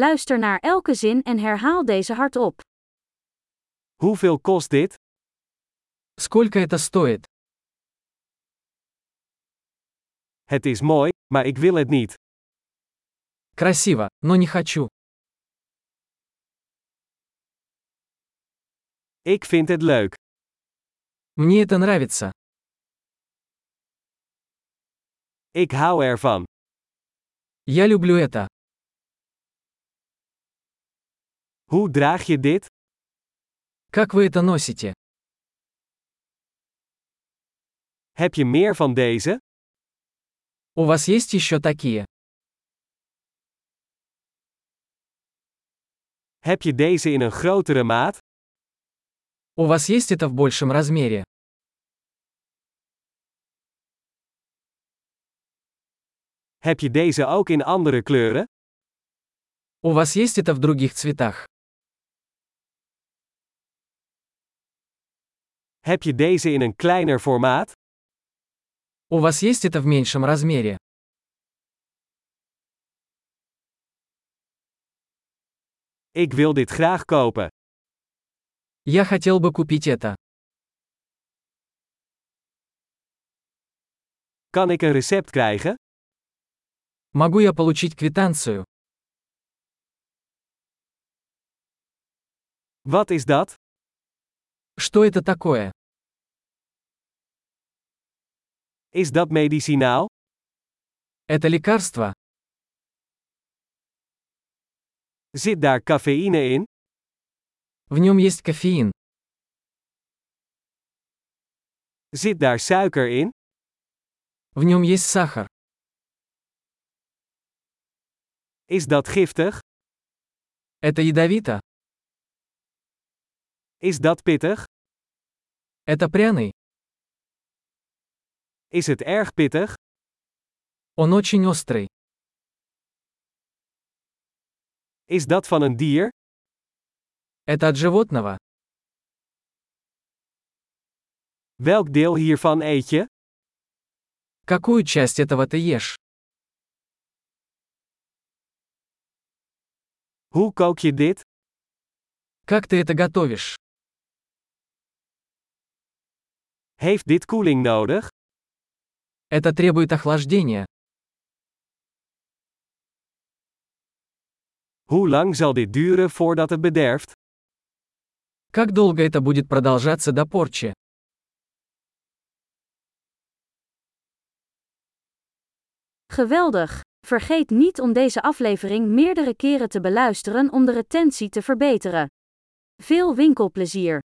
Luister naar elke zin en herhaal deze hardop. Hoeveel kost dit? Сколько это стоит? Het is mooi, maar ik wil het niet. Красиво, но не хочу. Ik vind het leuk. Мне это нравится. Ik hou ervan. Я люблю это. Hoe draag je dit? Как вы это носите? Heb je meer van deze? У вас есть еще такие? Heb je deze in een grotere maat? У вас есть это в большем размере? Heb je deze ook in andere kleuren? У вас есть это в других цветах? Heb je deze in een kleiner formaat? У вас есть это в меньшем размере? Ik wil dit graag kopen. Я хотел бы купить это. Kan ik een recept krijgen? Могу я получить квитанцию? Wat is dat? Что это такое? Is dat medicinaal? Это лекарство? Zit daar cafeïne in? В нем есть кофеин. Zit daar suiker in? В нем есть сахар. Is dat giftig? Это ядовито. Is dat pittig? Это пряный. Is het erg pittig? Он очень острый. Is dat van een dier? Это от животного. Welk deel hiervan eet je? Какую часть этого ты ешь? Hoe kook je dit? Как ты это готовишь? Heeft dit koeling nodig? Это требует охлаждения. Hoe lang zal dit duren voordat het bederft? Как долго это будет продолжаться до порчи? Geweldig! Vergeet niet om deze aflevering meerdere keren te beluisteren om de retentie te verbeteren. Veel winkelplezier!